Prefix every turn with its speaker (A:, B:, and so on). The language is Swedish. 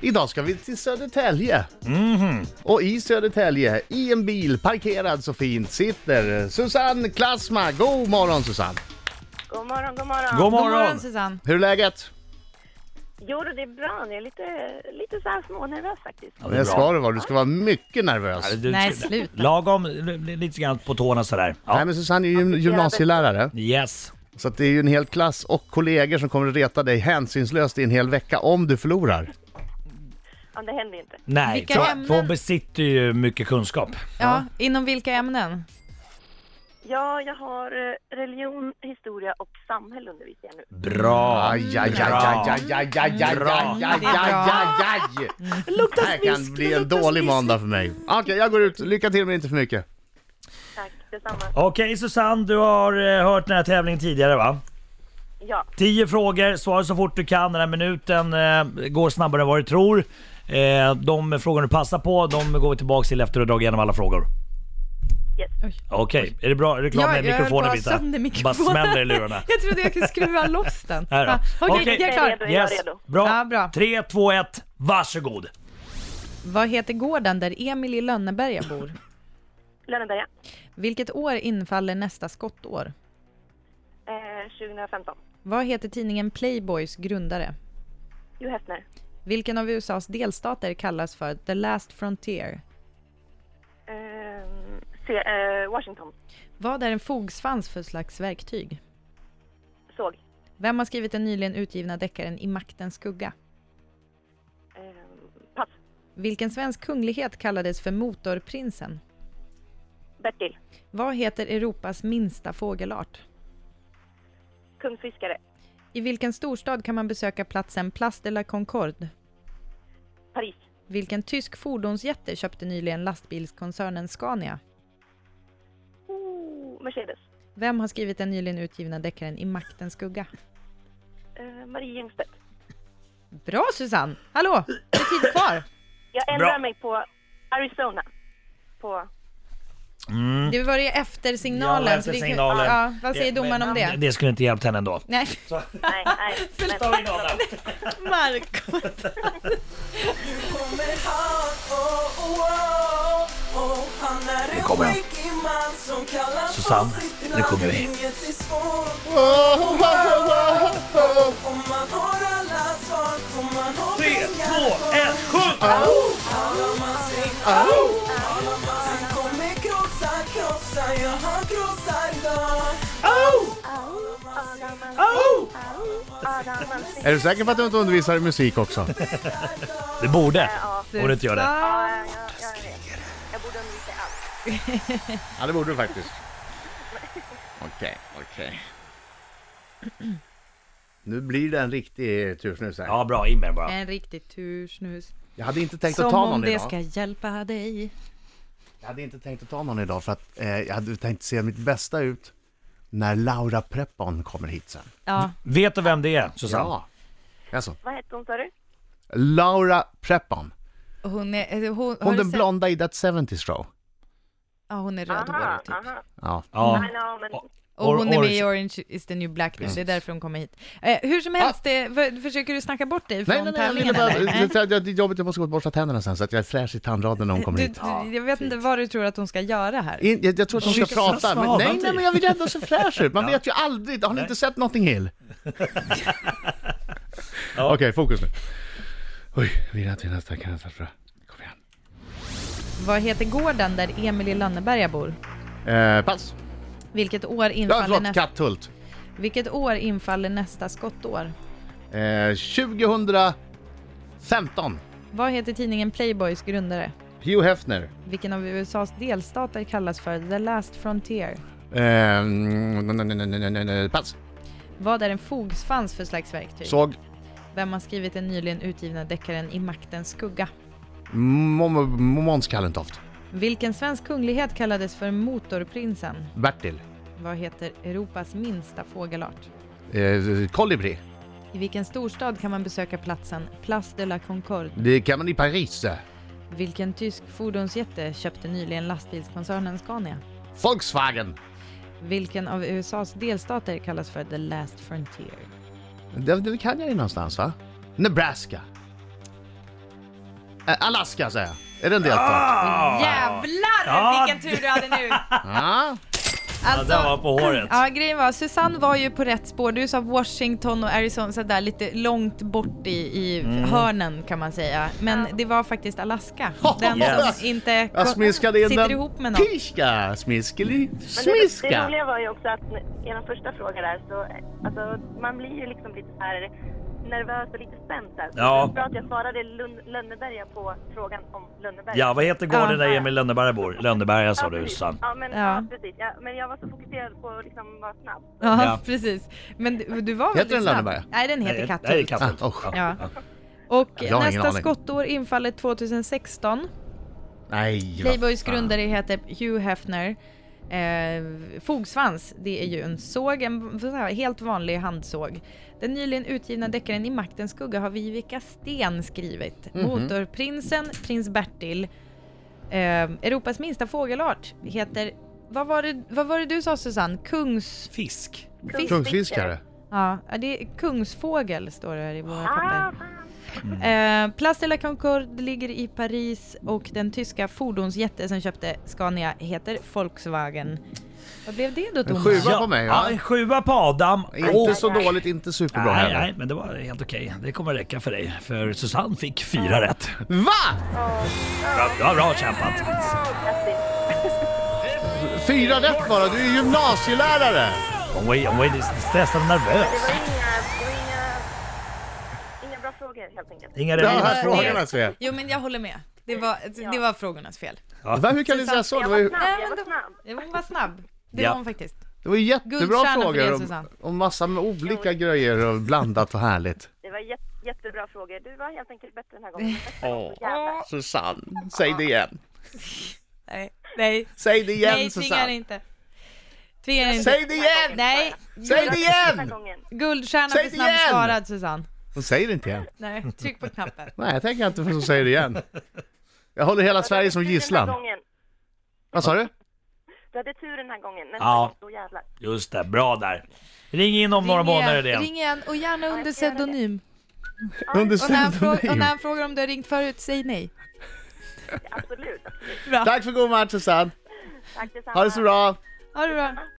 A: Idag ska vi till Södertälje.
B: Mhm.
A: Och i Södertälje, i en bil, parkerad så fint, sitter Susanne Klasma. God morgon Susanne!
C: God morgon, god morgon.
B: God
D: God morgon
B: morgon!
D: Susanne.
A: Hur är läget?
C: Jo, det är bra. Jag är lite, lite så här smånervös faktiskt.
B: Ja,
A: Det,
B: det är
A: ska
B: bra.
A: du vara, du ska vara mycket nervös.
B: Ja, du
D: Nej,
B: ska-
D: sluta.
B: Lagom, li- li- lite grann på tårna sådär.
A: Nej
B: Ja.
A: men Susanne är ju gym- gymnasielärare,
B: Yes.
A: så att det är ju en hel klass och kollegor som kommer att reta dig hänsynslöst i en hel vecka om du förlorar.
C: Ja, det händer inte.
B: Nej,
D: Vilka
B: för,
D: ämnen?
B: för hon besitter ju mycket kunskap.
D: Ja, inom vilka ämnen?
C: Ja, jag har eh, religion, historia och samhälle undervisar jag nu.
B: Bra!
A: Aj, aj, aj, aj, aj, aj, aj, aj, aj, aj, aj, aj, aj. Det här kan bli en dålig måndag för mig. Okej, jag går ut. Lycka till men inte för mycket.
C: Tack, detsamma.
B: Okej Susanne, du har eh, hört den här tävlingen tidigare va?
C: Ja,
B: 10 frågor, svara så fort du kan. Den här minuten eh, går snabbare än vad du tror. Eh, de frågor du passar på, de går vi tillbaka till efter att du har dragit igenom alla frågor.
C: yes.
B: Okej, är det bra? Är du klar med
D: jag höll på
B: mikrofonen
D: att ha
B: Brita?
D: sönder
B: Bara
D: mikrofonen.
B: smäller i lurarna.
D: jag trodde jag kunde skruva loss den.
B: Här då.
D: Ja, Okej,
B: Okej.
D: jag är
C: Jag är
D: klar.
C: redo.
B: Yes,
C: redo.
B: bra.
D: Ja, bra.
B: 3, 2, 1, varsågod.
D: Vad heter gården där Emil i Lönneberga bor?
C: Lönneberga,
D: Vilket år infaller nästa skottår?
C: eh, 2015.
D: Vad heter tidningen Playboys grundare?
C: Jo Hefner,
D: Vilken av USAs delstater kallas för The Last Frontier?
C: eh, se, eh, Washington,
D: Vad är en fogsvans för slags verktyg?
C: såg.
D: Vem har skrivit den nyligen utgivna deckaren I maktens skugga?
C: Eh, pass,
D: Vilken svensk kunglighet kallades för motorprinsen?
C: Bertil,
D: Vad heter Europas minsta fågelart?
C: kungsfiskare,
D: I vilken storstad kan man besöka platsen Place de la Concorde?
C: Paris,
D: Vilken tysk fordonsjätte köpte nyligen lastbilskoncernen Scania?
C: oh, Mercedes,
D: Vem har skrivit den nyligen utgivna deckaren I maktens skugga?
C: eh, Marie Ljungstedt.
D: Bra Susanne! Hallå! Det är tid kvar!
C: Jag ändrar
B: Bra.
C: mig på Arizona. På,
D: Det var ju efter signalen.
B: Mm. Ja, efter
D: så det kan-
B: signalen.
D: Ja, vad säger domaren om det?
B: Det skulle inte hjälpt henne ändå.
D: Nej,
C: nej, nej. men-
B: Tar vi någon annan?
D: Marco.
E: kommer han, oh, oh, oh, oh. Han är en
B: kommer han.
E: skäggig man som kallar
B: Susanne,
E: på sitt
B: nu
E: namn.
B: sjunger vi.
E: Inget är svårt. Om man har alla svar får man ha
B: Tre,
E: pengar
B: två,
E: kvar.
B: ett, sjung!
E: Alla man ser, alla man ser kommer krossa, krossa, ja han krossar idag. Alla man ser,
A: Är du säker på att du inte undervisar i musik också?
B: Det borde.
C: Ja,
B: Borde inte göra det.
D: Susanne.
C: ja, ja, ja, jag vet. Jag borde undvika allt.
A: Ja, det borde du faktiskt. Okej, okej. Nu blir det en riktig tursnus här.
B: Ja, bra. In med den bara.
D: En riktig tursnus.
A: Jag hade inte tänkt att
D: Som
A: ta
D: om
A: någon
D: det
A: idag.
D: ska hjälpa dig.
A: Jag hade inte tänkt att ta någon idag för att eh, jag hade tänkt se mitt bästa ut när Laura Prepon kommer hit sen.
D: Ja,
B: Vet du vem det är, Susanne?
A: Ja. Alltså,
C: Vad hette hon sa du?
A: Laura Prepon.
D: hon är... eh, Hon, har
A: Hon
D: du
A: den
D: sett-
A: blonda i That 70's Show.
D: Ja, hon är
C: Aha,
D: rödhårig typ.
C: aha.
A: Ja.
B: Ja.
C: Nej, no, men
B: Och-
D: Och
B: Or-
D: hon är med
B: orange.
D: i Orange is the new black nu, det
A: Mm.
D: är därför hon kommer hit. Eh, hur som helst, det, för, försöker du snacka bort dig från
A: Ah. Nej, nej, nej, jag ville
D: tävlingen
A: bara...
D: eller? Eh,
A: Det
D: Nej.
A: det- det är jobbigt, jag måste gå och borsta tänderna sen så att jag är fräsch i tandraden när hon kommer
D: Du,
A: hit.
D: du, jag vet inte vad du tror att hon ska göra här.
A: In, jag, jag tror att hon ska
B: Försöker
A: prata. Men,
B: slappna av,
A: nej,
B: typ.
A: nej, men jag vill ändå se fräsch ut. Man vet ju aldrig. Har ni inte sett Notting Hill? Okej, fokus nu. Oj, vinna till nästa, kan nästa, tror jag. Kom igen.
D: Vad heter gården där Emil i Lönneberga bor?
A: Eh, pass.
D: Vilket år
A: Ja,
D: infaller,
A: förlåt,
D: nästa,
A: Katthult.
D: vilket år infaller nästa skottår?
A: Eh, 2015.
D: Vad heter tidningen Playboys grundare?
A: Hugh Hefner.
D: Vilken av USAs delstater kallas för The Last Frontier?
A: Eh, mm, nej, nej, nej, nej, nej, nej, pass.
D: Vad är en fogsvans för slags verktyg?
A: Såg.
D: Vem har skrivit den nyligen utgivna deckaren I maktens skugga?
A: M- Måns Kallentoft.
D: Vilken svensk kunglighet kallades för motorprinsen?
A: Bertil.
D: Vad heter Europas minsta fågelart?
A: Eh, Kolibri.
D: I vilken storstad kan man besöka platsen Place de la Concorde?
A: Det kan man i Paris. eh.
D: Vilken tysk fordonsjätte köpte nyligen lastbilskoncernen Scania?
A: Volkswagen.
D: Vilken av USAs delstater kallas för The Last Frontier?
A: Det, det kan jag ju någonstans, va? Nebraska. Eh, Alaska säger jag. Är det en delstat?
C: Ah!
D: Jävlar
B: Ah. Ja.
D: vilken tur du hade nu! Alltså,
A: Ja.
B: Ja, det var på håret.
D: Ja, grejen var, Susanne var ju på rätt spår. Du sa Washington och Arizona, så där lite långt bort i, i
A: Mm.
D: hörnen kan man säga. Men det var faktiskt Alaska. Den
B: Yes.
D: som inte
A: Jag smiskade in
D: sitter
A: den.
D: ihop med någon.
A: Piska, smiskeli,
C: Men det, det
A: smiska.
C: roliga var ju också att n- er första fråga där så, eh, alltså man blir ju liksom lite så här nervös och lite spänd så här. Så
B: Ja.
C: Det är bra att jag svarade Lund- Lönneberga på frågan om Lönneberga.
B: Ja, vad heter gården där
D: Ja.
B: Emil Lönneberga bor? Lönneberga sa
C: Ja,
B: du
C: precis.
B: Susanne.
C: Ja, men,
D: Ja.
C: ja. precis. Ja, men jag var så fokuserad på att liksom vara snabb.
D: Ja,
B: Ja.
D: precis. Men du, du var
A: Heter
D: väldigt
A: den
D: snabb.
A: Lönneberga?
D: Nej, den
B: Nej,
D: heter
B: Nej, det är
D: Katthult.
B: Katthult.
A: Ah, usch.
D: Ja. Och
A: Jag har ingen
D: nästa
A: aning.
D: skottår infaller 2016.
A: Nej, vad
D: Playboys
A: fan.
D: grundare heter Hugh Hefner. Eh, fogsvans, det är ju en såg, en så här helt vanlig handsåg. Den nyligen utgivna deckaren I maktens skugga har Vivica Sten skrivit. Motorprinsen, prins Bertil. Eh, Europas minsta fågelart heter, vad var, det, vad var det du sa Susanne? Kungs...
B: Fisk.
A: Kungsfiskare.
D: Ja, det är kungsfågel står det här i våra papper.
C: Ah, fan.
D: Eh, Place de la Concorde ligger i Paris och den tyska fordonsjätte som köpte Scania heter Volkswagen. Vad blev det då Thomas?
A: sjua. Sjua på mig,
B: ja.
A: ja.
B: en sjua på Adam.
A: Inte
B: Och-
A: så dåligt, inte superbra
B: Nej, nej,
A: heller.
B: men det var helt okej. Det kommer räcka för dig. För Susanne fick fyra rätt.
A: Va?
B: Bra, bra, bra kämpat.
C: Grattis.
A: Fyra rätt bara, du är ju gymnasielärare!
B: Hon var, hon var stressad
C: Det var
B: och nervös.
C: inga, det var inga, inga bra frågor helt enkelt.
B: Inga
A: Det
B: revir.
A: här frågorna ser jag.
D: Jo men jag håller med. Det var, det var frågornas fel.
A: Va, Hur kan ni säga så? Det
C: Jag
A: var
C: var
A: ju,
C: snabb,
D: Nej,
C: jag var snabb.
D: men då- Ja, Hon var snabb. Det
B: Ja.
D: var hon faktiskt.
A: det var ju jättebra
D: Guldstjärna för det,
A: frågor om,
D: Susanne.
A: om massa med olika grejer och blandat och härligt.
C: Det var jätte, jättebra frågor. Du var helt enkelt bättre den här gången.
A: Åh, Susanne, säg det igen.
D: Nej, nej,
A: Säg det igen
D: nej tvinga dig
A: Susanne.
D: inte. Tvinga dig inte.
A: Säg det igen!
D: Nej,
A: Säg det
C: Den här
A: igen!
C: gången.
D: guldstjärna
A: Säg
D: för
A: det
D: snabbt
A: igen!
D: svarad Susanne.
A: Hon säger inte igen.
D: Nej, tryck på knappen.
A: Nej, jag tänker inte för hon säger det igen. Jag håller hela Sverige som
C: Du hade tur den
A: gisslan.
C: här gången.
A: Vad sa du?
C: Du hade tur den här gången. Nästa
B: Ja.
C: gång, då jävlar.
B: Just det, bra där. Ring in om några
D: Ring igen,
B: månader igen.
D: Ring igen och gärna under
C: ska göra det.
D: pseudonym.
A: Under
D: Och när, han frågar, och
A: pseudonym.
D: när han frågar om du har ringt förut, säg nej.
C: Absolut.
A: Tack för god match Susanne.
C: Tack detsamma.
A: Ha det så bra.
D: Ha det bra.